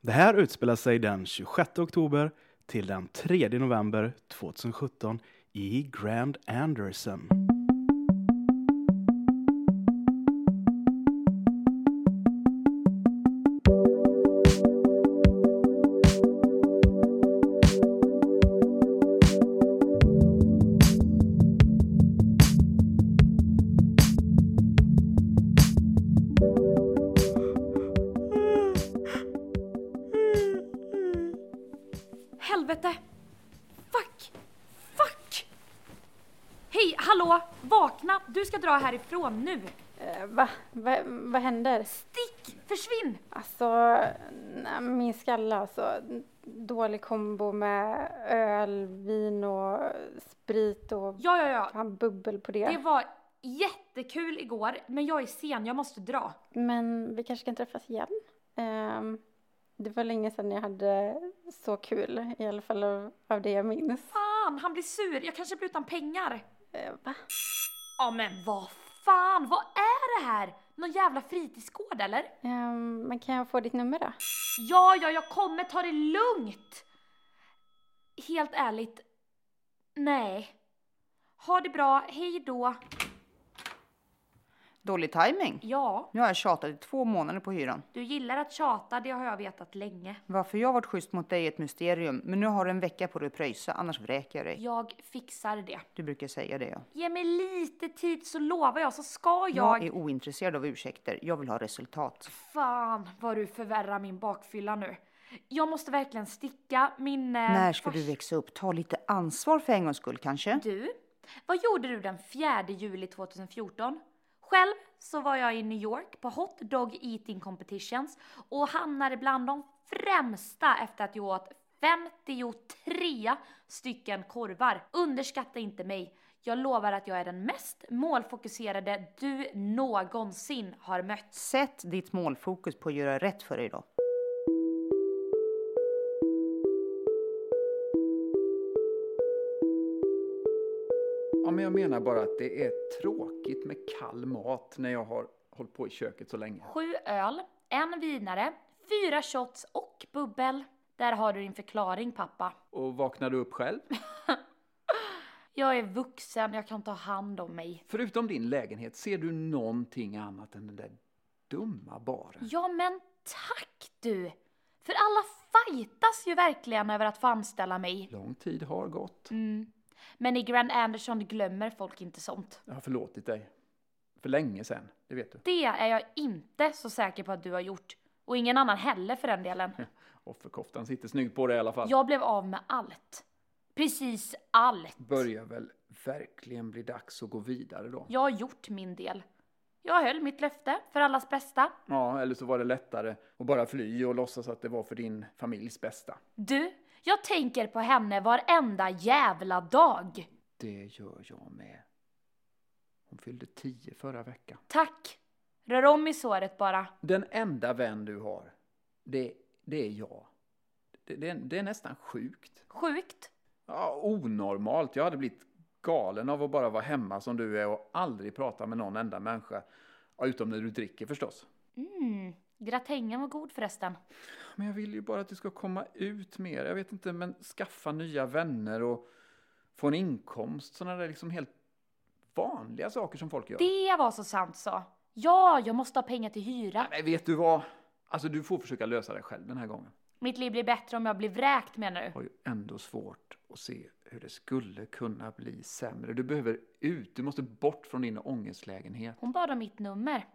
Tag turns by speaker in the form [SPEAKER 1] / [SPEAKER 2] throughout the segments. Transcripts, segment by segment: [SPEAKER 1] Det här utspelar sig den 26 oktober till den 3 november 2017 i Grand Anderson.
[SPEAKER 2] Helvete! Fuck! Fuck! Hej, hallå! Vakna! Du ska dra härifrån nu!
[SPEAKER 3] Eh, Va? Va? Vad händer?
[SPEAKER 2] Stick! Försvinn!
[SPEAKER 3] Alltså, nej, min skalle alltså. Dålig kombo med öl, vin och sprit och
[SPEAKER 2] Ja, ja, ja.
[SPEAKER 3] fan bubbel på det.
[SPEAKER 2] Det var jättekul igår, men jag är sen. Jag måste dra.
[SPEAKER 3] Men vi kanske kan träffas igen? Ehm, det var länge sedan jag hade så kul, i alla fall av, av det jag minns.
[SPEAKER 2] Fan, han blir sur. Jag kanske blir utan pengar.
[SPEAKER 3] Eh, va?
[SPEAKER 2] Ja, men vad fan! Vad är det här? Någon jävla fritidsgård, eller?
[SPEAKER 3] Ehm, men kan jag få ditt nummer då?
[SPEAKER 2] Ja, ja, jag kommer ta det lugnt! Helt ärligt, nej. Ha det bra, hej då.
[SPEAKER 4] Dålig timing.
[SPEAKER 2] Ja,
[SPEAKER 4] Nu har jag tjatat i två månader på hyran.
[SPEAKER 2] du gillar att tjata, det har jag vetat länge.
[SPEAKER 4] Varför jag varit schysst mot dig är ett mysterium, men nu har du en vecka på dig att pröjsa, annars vräker jag dig.
[SPEAKER 2] Jag fixar det.
[SPEAKER 4] Du brukar säga det ja.
[SPEAKER 2] Ge mig lite tid så lovar jag så ska jag...
[SPEAKER 4] Jag är ointresserad av ursäkter, jag vill ha resultat.
[SPEAKER 2] Fan vad du förvärrar min bakfylla nu. Jag måste verkligen sticka, min... eh,
[SPEAKER 4] När ska
[SPEAKER 2] fars-
[SPEAKER 4] du växa upp? Ta lite ansvar för en gångs skull kanske?
[SPEAKER 2] Du, vad gjorde du den 4 juli 2014? Själv så var jag i New York på Hot Dog Eating Competitions och hamnade bland de främsta efter att jag åt 53 stycken korvar. Underskatta inte mig. Jag lovar att jag är den mest målfokuserade du någonsin har mött.
[SPEAKER 4] Sätt ditt målfokus på att göra rätt för dig då.
[SPEAKER 5] Ja, men jag menar bara att det är tråkigt med kall mat när jag har hållit på i köket så länge.
[SPEAKER 2] Sju öl, en vinare, fyra shots och bubbel. Där har du din förklaring pappa.
[SPEAKER 5] Och vaknar du upp själv?
[SPEAKER 2] Jag är vuxen, jag kan ta hand om mig.
[SPEAKER 5] Förutom din lägenhet, ser du någonting annat än den där dumma baren?
[SPEAKER 2] Ja men tack du! För alla fightas ju verkligen över att få anställa mig.
[SPEAKER 5] Lång tid har gått.
[SPEAKER 2] Mm. Men i Grand Anderson glömmer folk inte sånt.
[SPEAKER 5] Jag har förlåtit dig. För länge sen, det vet du.
[SPEAKER 2] Det är jag inte så säker på att du har gjort. Och ingen annan heller för den delen.
[SPEAKER 5] Offerkoftan sitter snyggt på dig i alla fall.
[SPEAKER 2] Jag blev av med allt. Precis allt.
[SPEAKER 5] Börjar väl verkligen bli dags att gå vidare då?
[SPEAKER 2] Jag har gjort min del. Jag höll mitt löfte för allas bästa.
[SPEAKER 5] Ja, eller så var det lättare att bara fly och låtsas att det var för din familjs bästa.
[SPEAKER 2] Du, jag tänker på henne varenda jävla dag.
[SPEAKER 5] Det gör jag med. Hon fyllde tio förra veckan.
[SPEAKER 2] Tack! Rör om i såret bara.
[SPEAKER 5] Den enda vän du har, det, det är jag. Det, det, är- det är nästan sjukt.
[SPEAKER 2] Sjukt.
[SPEAKER 5] Ja, onormalt. Jag hade blivit galen av att bara vara hemma som du är och aldrig prata med någon enda människa. Ja, utom när du dricker förstås.
[SPEAKER 2] Mm, gratängen var god förresten.
[SPEAKER 5] Men jag vill ju bara att du ska komma ut mer. Jag vet inte, men skaffa nya vänner och få en inkomst. Sådana där liksom helt vanliga saker som folk gör.
[SPEAKER 2] Det var så sant så. Ja, jag måste ha pengar till hyra.
[SPEAKER 5] Nej, vet du vad? Alltså, du får försöka lösa det själv den här gången.
[SPEAKER 2] Mitt liv blir bättre om jag blir vräkt menar du?
[SPEAKER 5] har ju ändå svårt att se hur det skulle kunna bli sämre. Du behöver ut, du måste bort från din ångestlägenhet.
[SPEAKER 2] Hon bad om mitt nummer.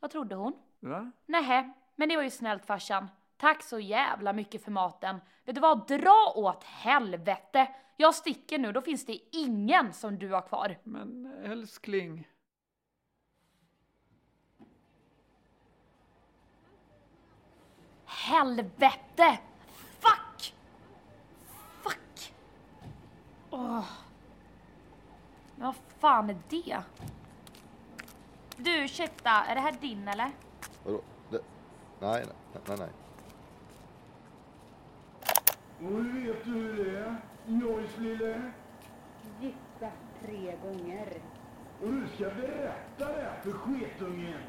[SPEAKER 2] Vad trodde hon?
[SPEAKER 5] Va?
[SPEAKER 2] Nähä, men det var ju snällt farsan. Tack så jävla mycket för maten. Vet du vad, dra åt helvete! Jag sticker nu, då finns det ingen som du har kvar.
[SPEAKER 5] Men älskling,
[SPEAKER 2] Helvete! Fuck! Fuck! Åh. Men vad fan är det? Du, ursäkta, är det här din eller?
[SPEAKER 6] Vadå? Det... Nej, nej, nej, nej.
[SPEAKER 7] Och vet du hur det är, Joyce lille?
[SPEAKER 8] Gifta tre gånger.
[SPEAKER 7] Och du ska berätta det för sketungen.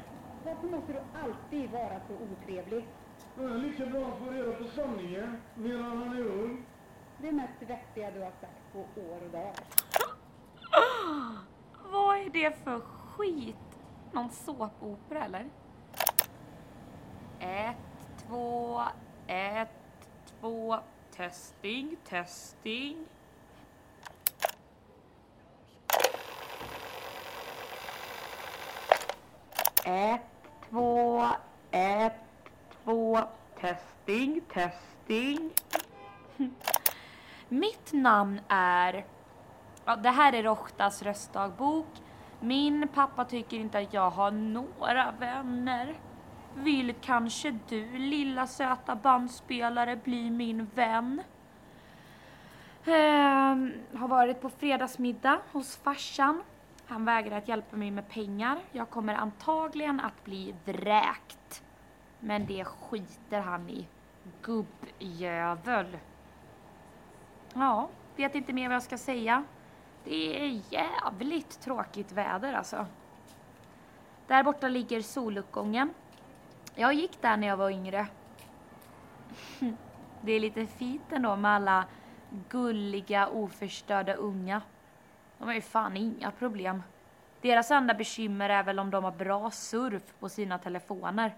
[SPEAKER 8] Varför måste du alltid vara så otrevlig?
[SPEAKER 7] Då är det lika bra att få reda på sanningen medan han är ung.
[SPEAKER 8] Det mest vettiga du har sagt på år och dag.
[SPEAKER 2] Vad är det för skit? Någon såpopera eller? Ett, två, ett, två, testing, testing. Ett, två, ett, två, testing, testing. Mitt namn är... Ja, det här är Rochtas röstdagbok. Min pappa tycker inte att jag har några vänner. Vill kanske du, lilla söta bandspelare, bli min vän? Ehm, har varit på fredagsmiddag hos farsan. Han vägrar att hjälpa mig med pengar. Jag kommer antagligen att bli vräkt. Men det skiter han i. Gubbjövel. Ja, vet inte mer vad jag ska säga. Det är jävligt tråkigt väder alltså. Där borta ligger soluppgången. Jag gick där när jag var yngre. Det är lite fint ändå med alla gulliga oförstörda unga. De har ju fan inga problem. Deras enda bekymmer är väl om de har bra surf på sina telefoner.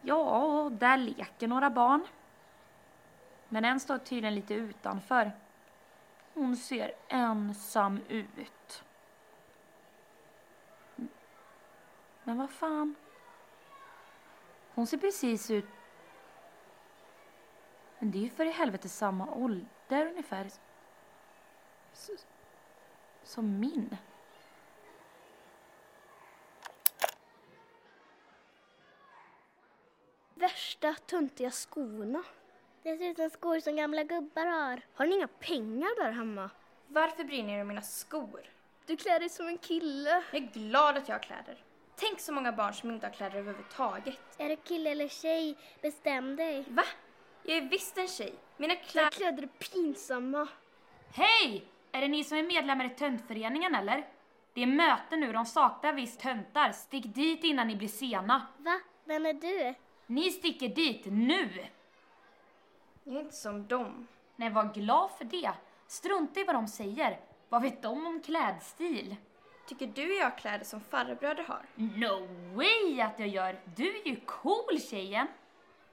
[SPEAKER 2] Ja, och där leker några barn. Men en står tydligen lite utanför. Hon ser ensam ut. Men vad fan? Hon ser precis ut... Men det är ju för i helvete samma ålder ungefär. S- som min.
[SPEAKER 9] Värsta töntiga skorna. Det ser ut som skor som gamla gubbar har. Har ni inga pengar där hemma?
[SPEAKER 10] Varför bryr ni er om mina skor?
[SPEAKER 9] Du klär dig som en kille.
[SPEAKER 10] Jag är glad att jag har kläder. Tänk så många barn som inte har kläder överhuvudtaget.
[SPEAKER 9] Är du kille eller tjej? Bestäm dig.
[SPEAKER 10] Va? Jag är visst en tjej. Mina
[SPEAKER 9] Dina
[SPEAKER 10] kläder...
[SPEAKER 9] kläder är pinsamma.
[SPEAKER 2] Hej! Är det ni som är medlemmar i töntföreningen eller? Det är möte nu, de saknar visst töntar. Stick dit innan ni blir sena.
[SPEAKER 9] Va? Vem är du?
[SPEAKER 2] Ni sticker dit nu!
[SPEAKER 10] Jag är inte som dem.
[SPEAKER 2] Nej, var glad för det. Strunta i vad de säger. Vad vet de om klädstil?
[SPEAKER 10] Tycker du jag har kläder som farbröder har?
[SPEAKER 2] No way att jag gör! Du är ju cool tjejen!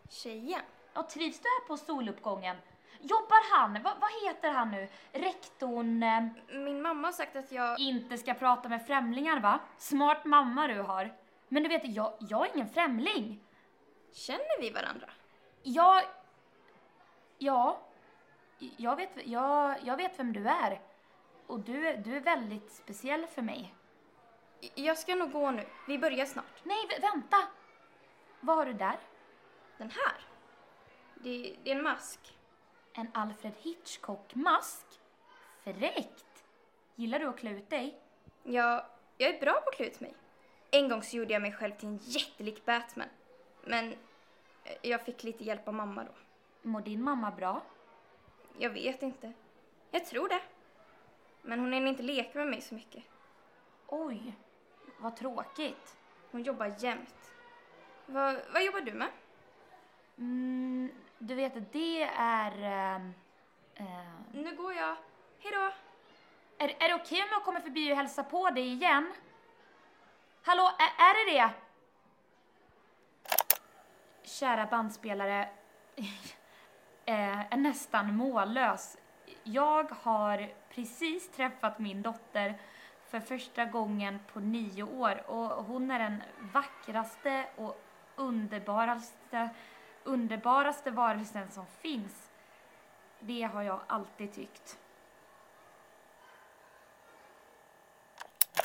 [SPEAKER 10] Tjejen?
[SPEAKER 2] Ja, trivs du här på soluppgången? Jobbar han, va, vad heter han nu? Rektorn... Eh,
[SPEAKER 10] Min mamma har sagt att jag...
[SPEAKER 2] inte ska prata med främlingar va? Smart mamma du har. Men du vet, jag, jag är ingen främling.
[SPEAKER 10] Känner vi varandra?
[SPEAKER 2] Jag... Ja. Jag vet, jag, jag vet vem du är. Och du, du är väldigt speciell för mig.
[SPEAKER 10] J- Jag ska nog gå nu. Vi börjar snart.
[SPEAKER 2] Nej, vä- vänta! Vad har du där?
[SPEAKER 10] Den här? Det, det är en mask.
[SPEAKER 2] En Alfred Hitchcock-mask? Fräckt! Gillar du att klä ut dig?
[SPEAKER 10] Jag, jag är bra på att klä ut mig. En gång så gjorde jag mig själv till en jättelik Batman. Men eh, jag fick lite hjälp av mamma då.
[SPEAKER 2] Mår din mamma bra?
[SPEAKER 10] Jag vet inte. Jag tror det. Men hon hinner inte leka med mig så mycket.
[SPEAKER 2] Oj, vad tråkigt.
[SPEAKER 10] Hon jobbar jämt. Vad, vad jobbar du med?
[SPEAKER 2] Mm, du vet, det är... ehm, ehm,
[SPEAKER 10] Nu går jag. Hejdå!
[SPEAKER 2] är, är det okej om jag kommer förbi och hälsar på dig igen? Hallå, är, är det det? Kära bandspelare. eh, är nästan mållös. Jag har precis träffat min dotter för första gången på nio år och hon är den vackraste och underbaraste, underbaraste varelsen som finns. Det har jag alltid tyckt.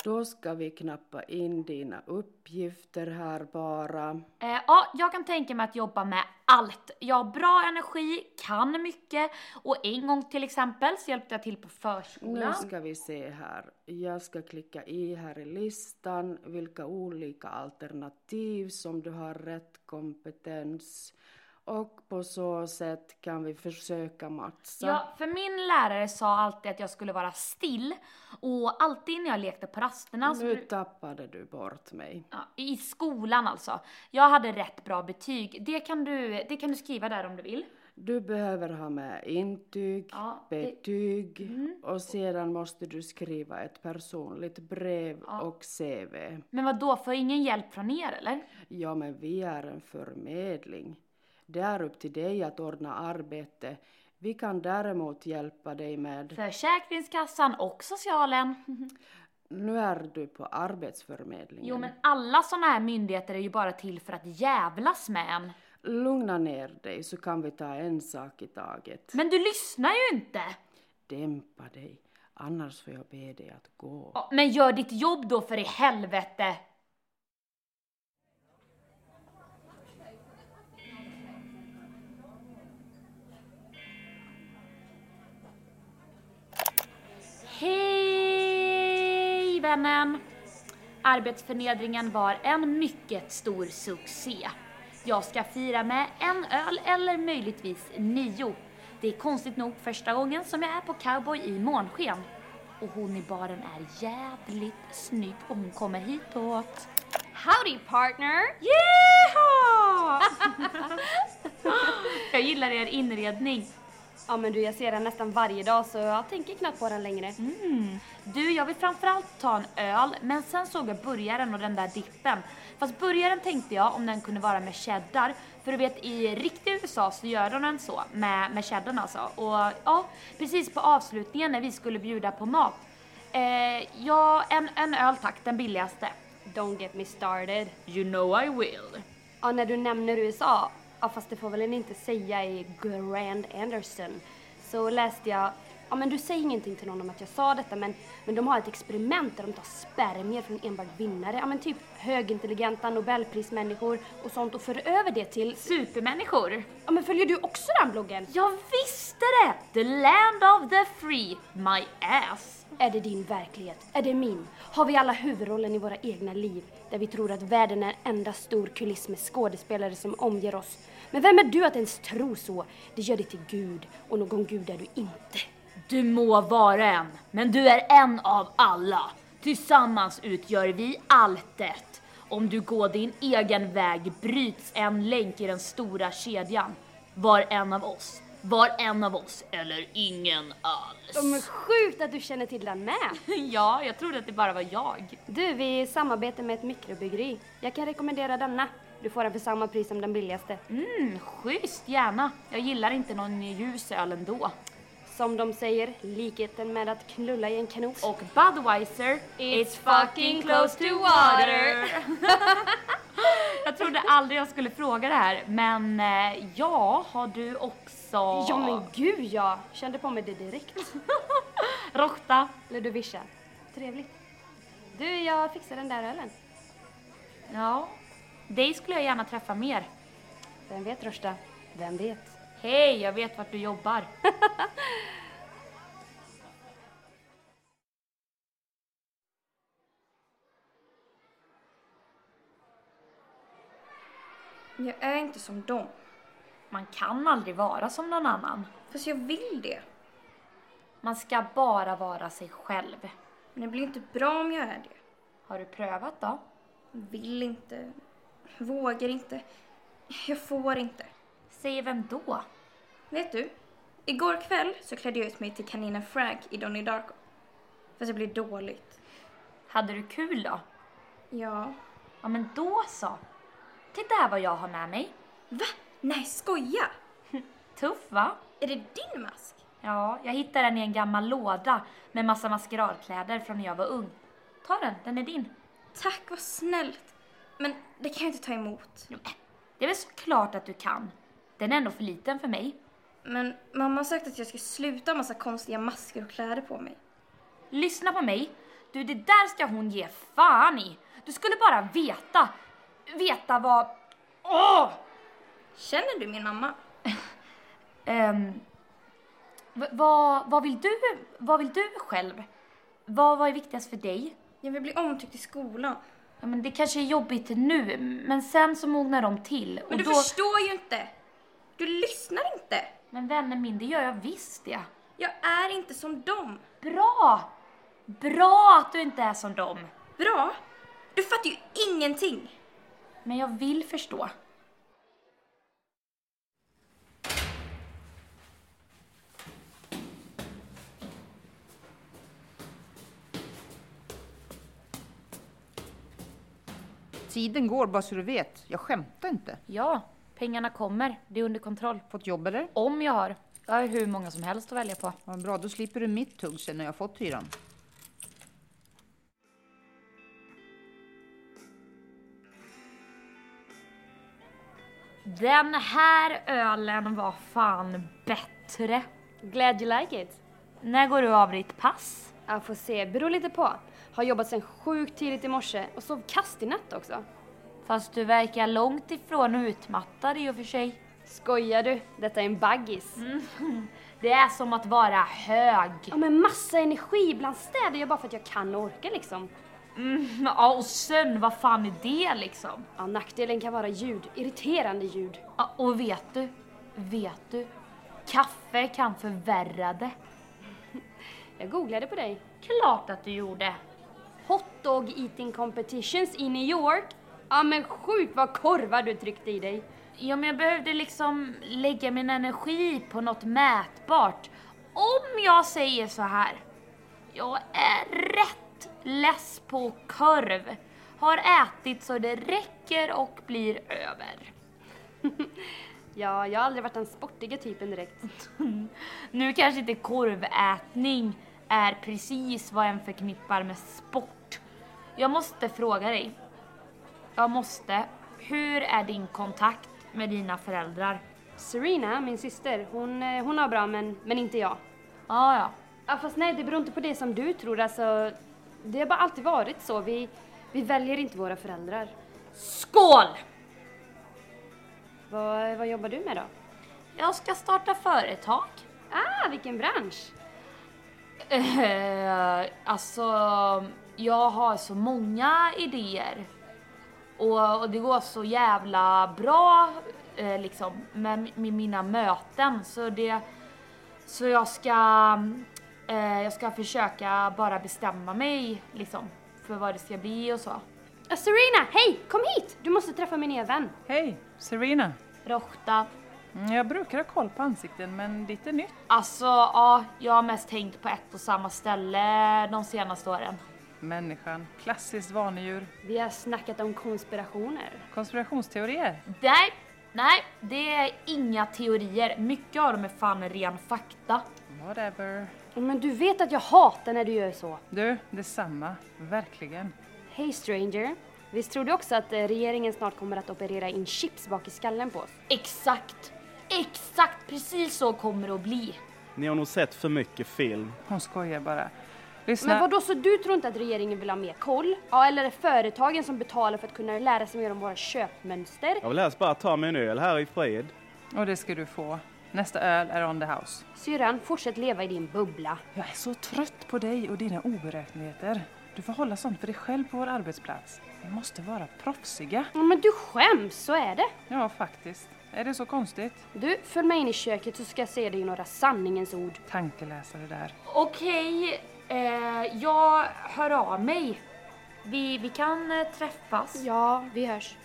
[SPEAKER 11] Då ska vi knappa in dina uppgifter här bara.
[SPEAKER 2] Eh, ja, jag kan tänka mig att jobba med allt. Jag har bra energi, kan mycket och en gång till exempel så hjälpte jag till på
[SPEAKER 11] Nu
[SPEAKER 2] förskolan.
[SPEAKER 11] ska vi se här. Jag ska klicka i här i listan vilka olika alternativ som du har rätt kompetens. och på så sätt kan vi försöka matcha.
[SPEAKER 2] Ja, för min lärare sa alltid att jag skulle vara still och alltid när jag lekte på rasterna så
[SPEAKER 11] nu
[SPEAKER 2] bru-
[SPEAKER 11] tappade du bort mig.
[SPEAKER 2] ja, i skolan alltså. Jag hade rätt bra betyg. Det kan du, det kan du skriva där om du vill.
[SPEAKER 11] Du behöver ha med intyg,
[SPEAKER 2] Ja, det- Mm.
[SPEAKER 11] betyg och sedan måste du skriva ett personligt brev och CV.
[SPEAKER 2] Men vad då får jag ingen hjälp från er eller?
[SPEAKER 11] Ja, men vi är en förmedling. Det är upp till dig att ordna arbete. Vi kan däremot hjälpa dig med...
[SPEAKER 2] Försäkringskassan och socialen.
[SPEAKER 11] Nu är du på arbetsförmedlingen.
[SPEAKER 2] Jo men alla såna här myndigheter är ju bara till för att jävlas med en.
[SPEAKER 11] Lugna ner dig så kan vi ta en sak i taget.
[SPEAKER 2] Men du lyssnar ju inte!
[SPEAKER 11] Dämpa dig, annars får jag be dig att gå.
[SPEAKER 2] Ja, Men gör ditt jobb då för i helvete! Hej vännen! Arbetsförnedringen var en mycket stor succé. Jag ska fira med en öl eller möjligtvis nio. Det är konstigt nog första gången som jag är på cowboy i månsken. Och hon i baren är jävligt snygg och hon kommer hitåt.
[SPEAKER 12] Howdy partner!
[SPEAKER 2] Yeehaw! jag gillar er inredning.
[SPEAKER 12] Ja men du, jag ser den nästan varje dag så jag tänker knappt på den längre.
[SPEAKER 2] Mm. Du, jag vill framförallt ta en öl, men sen såg jag burgaren och den där dippen. Fast burgaren tänkte jag om den kunde vara med cheddar, för du vet i riktiga USA så gör de den så, med, med cheddarn alltså. Och ja, precis på avslutningen när vi skulle bjuda på mat. Eh, ja, en, en öl tack, den billigaste.
[SPEAKER 12] Don't get me started.
[SPEAKER 2] You know I will.
[SPEAKER 12] Ja, när du nämner USA, ja fast det får väl en inte säga i Grand Anderson, så läste jag, ja men du säger ingenting till någon om att jag sa detta men, men de har ett experiment där de tar spermier från enbart vinnare, ja men typ högintelligenta nobelprismänniskor och sånt och för över det till...
[SPEAKER 2] Supermänniskor!
[SPEAKER 12] Ja men följer du också den bloggen?
[SPEAKER 2] Jag visste det! The land of the free, my ass.
[SPEAKER 12] Är det din verklighet? Är det min? Har vi alla huvudrollen i våra egna liv? Där vi tror att världen är en enda stor kuliss med skådespelare som omger oss. Men vem är du att ens tro så? Det gör dig till gud och någon gud är du inte.
[SPEAKER 2] Du må vara en, men du är en av alla. Tillsammans utgör vi alltet. Om du går din egen väg bryts en länk i den stora kedjan. Var en av oss. Var en av oss, eller ingen
[SPEAKER 12] De är
[SPEAKER 2] alls.
[SPEAKER 12] sjukt att du känner till den med.
[SPEAKER 2] Ja, jag trodde att det bara var jag.
[SPEAKER 12] Du, vi samarbetar med ett mikrobryggeri. Jag kan rekommendera denna. Du får den för samma pris som den billigaste.
[SPEAKER 2] Mm, schysst gärna. Jag gillar inte någon ljus öl ändå.
[SPEAKER 12] Som de säger, likheten med att knulla i en kanot.
[SPEAKER 2] Och Budweiser, it's fucking close to water. Jag trodde aldrig jag skulle fråga det här, men eh, ja, har du också...
[SPEAKER 12] Ja men gud ja! Kände på mig det direkt.
[SPEAKER 2] Rochta.
[SPEAKER 12] Ludovica. Trevligt. Du, jag fixar den där ölen.
[SPEAKER 2] Ja, dig skulle jag gärna träffa mer.
[SPEAKER 12] Vem vet Rosta? Vem vet?
[SPEAKER 2] Hej, jag vet vart du jobbar.
[SPEAKER 10] Jag är inte som dem.
[SPEAKER 2] Man kan aldrig vara som någon annan.
[SPEAKER 10] Fast jag vill det.
[SPEAKER 2] Man ska bara vara sig själv.
[SPEAKER 10] Men det blir inte bra om jag är det.
[SPEAKER 2] Har du prövat då?
[SPEAKER 10] Vill inte. Vågar inte. Jag får inte.
[SPEAKER 2] Säger vem då?
[SPEAKER 10] Vet du? Igår kväll så klädde jag ut mig till kaninen Frank i Donnie Darko. Fast det blev dåligt.
[SPEAKER 2] Hade du kul då?
[SPEAKER 10] Ja.
[SPEAKER 2] Ja, men då så. Titta här vad jag har med mig.
[SPEAKER 10] Va? Nej, skoja!
[SPEAKER 2] Tuff va?
[SPEAKER 10] Är det din mask?
[SPEAKER 2] Ja, jag hittade den i en gammal låda med massa maskeradkläder från när jag var ung. Ta den, den är din.
[SPEAKER 10] Tack, vad snällt. Men det kan jag inte ta emot.
[SPEAKER 2] Det är väl såklart att du kan. Den är ändå för liten för mig.
[SPEAKER 10] Men mamma har sagt att jag ska sluta ha massa konstiga masker och kläder på mig.
[SPEAKER 2] Lyssna på mig. Du, det där ska hon ge fan i. Du skulle bara veta. Veta vad... Åh!
[SPEAKER 10] Känner du min mamma?
[SPEAKER 2] Ehm, v- vad, vad vill du? Vad vill du själv? Vad, vad är viktigast för dig?
[SPEAKER 10] Jag vill bli omtyckt i skolan.
[SPEAKER 2] Ja, men det kanske är jobbigt nu, men sen så mognar de till.
[SPEAKER 10] Men
[SPEAKER 2] och
[SPEAKER 10] du
[SPEAKER 2] då...
[SPEAKER 10] förstår ju inte! Du lyssnar inte.
[SPEAKER 2] Men vänner min, det gör jag visst det.
[SPEAKER 10] Jag är inte som dem.
[SPEAKER 2] Bra! Bra att du inte är som dem.
[SPEAKER 10] Bra? Du fattar ju ingenting.
[SPEAKER 2] Men jag vill förstå.
[SPEAKER 4] Tiden går, bara så du vet. Jag skämtar inte.
[SPEAKER 2] Ja, pengarna kommer. Det är under kontroll.
[SPEAKER 4] Fått jobb eller?
[SPEAKER 2] Om jag har. Jag har hur många som helst att välja på.
[SPEAKER 4] Vad bra, då slipper du mitt tugg sen när jag fått hyran.
[SPEAKER 2] Den här ölen var fan bättre.
[SPEAKER 12] Glad you like it.
[SPEAKER 2] När går du av ditt pass?
[SPEAKER 12] Jag får se, beror lite på. Har jobbat sen sjukt tidigt i morse och sov kast i natt också.
[SPEAKER 2] Fast du verkar långt ifrån utmattad i och för sig.
[SPEAKER 12] Skojar du? Detta är en baggis.
[SPEAKER 10] Mm.
[SPEAKER 2] Det är som att vara hög.
[SPEAKER 12] Ja men massa energi, ibland städar jag bara för att jag kan och orkar liksom.
[SPEAKER 2] Mm, ja, och sömn, vad fan är det liksom?
[SPEAKER 12] Ja, nackdelen kan vara ljud, irriterande ljud.
[SPEAKER 2] Ja, och vet du? Vet du? Kaffe kan förvärra det.
[SPEAKER 12] Jag googlade på dig.
[SPEAKER 2] Klart att du gjorde.
[SPEAKER 12] Hot dog eating competitions i New York. Ja men sjukt vad korvar du tryckte i dig.
[SPEAKER 2] Ja, men jag behövde liksom lägga min energi på något mätbart. Om jag säger så här. Jag är rätt less på korv. Har ätit så det räcker och blir över.
[SPEAKER 12] Ja, jag typ har aldrig varit den sportiga typen direkt.
[SPEAKER 2] Nu kanske inte korvätning är precis vad en förknippar med sport. Jag måste fråga dig. Jag måste. Hur är din kontakt med dina föräldrar?
[SPEAKER 12] Serena, min syster, hon, eh, hon har bra men, men inte jag.
[SPEAKER 2] Ah, ja,
[SPEAKER 12] Ja, fast nej, det beror inte på det som du tror. Alltså, det har bara alltid varit så. Vi, vi väljer inte våra föräldrar.
[SPEAKER 2] Skål!
[SPEAKER 12] Vad, vad jobbar du med då?
[SPEAKER 2] Jag ska starta företag.
[SPEAKER 12] Ah, vilken bransch!
[SPEAKER 2] Eh, alltså, jag har så många idéer. Och, och det går så jävla bra eh, liksom, med, med mina möten. Så, det, så jag, ska, eh, jag ska försöka bara bestämma mig liksom, för vad det ska bli och så.
[SPEAKER 12] Ah, Serena, hej! Kom hit! Du måste träffa min nya vän.
[SPEAKER 13] Hej, Serena.
[SPEAKER 2] Rochta.
[SPEAKER 13] Mm, Jag brukar ha koll på ansikten, men ditt är nytt.
[SPEAKER 2] Alltså, ja, jag har mest tänkt på ett och samma ställe de senaste åren.
[SPEAKER 13] Människan, klassiskt vanedjur.
[SPEAKER 12] Vi har snackat om konspirationer.
[SPEAKER 13] Konspirationsteorier.
[SPEAKER 2] Nej, nej, det är inga teorier. Mycket av dem är fan ren fakta.
[SPEAKER 13] Whatever.
[SPEAKER 12] Men du vet att jag hatar när du gör så.
[SPEAKER 13] Du, detsamma. Verkligen.
[SPEAKER 12] Hej stranger. Visst tror du också att eh, regeringen snart kommer att operera in chips bak i skallen på oss?
[SPEAKER 2] Exakt, exakt precis så kommer det att bli.
[SPEAKER 1] Ni har nog sett för mycket film.
[SPEAKER 13] Hon skojar bara. Lyssna.
[SPEAKER 12] Men vadå, så du tror inte att regeringen vill ha mer koll? Ja, eller är det företagen som betalar för att kunna lära sig mer om våra köpmönster?
[SPEAKER 1] Jag vill helst bara ta mig en öl här i fred.
[SPEAKER 13] Och det ska du få. Nästa öl är on the house.
[SPEAKER 12] Syrran, fortsätt leva i din bubbla.
[SPEAKER 13] Jag är så trött på dig och dina oberäkneligheter. Du får hålla sånt för dig själv på vår arbetsplats. Vi måste vara proffsiga.
[SPEAKER 12] Ja, men du skäms, så är det.
[SPEAKER 13] Ja, faktiskt. Är det så konstigt?
[SPEAKER 12] Du, följ med in i köket så ska jag säga dig några sanningens ord.
[SPEAKER 13] Tankeläsare där.
[SPEAKER 2] Okej, eh, jag hör av mig. Vi, vi kan eh, träffas.
[SPEAKER 12] Ja, vi hörs.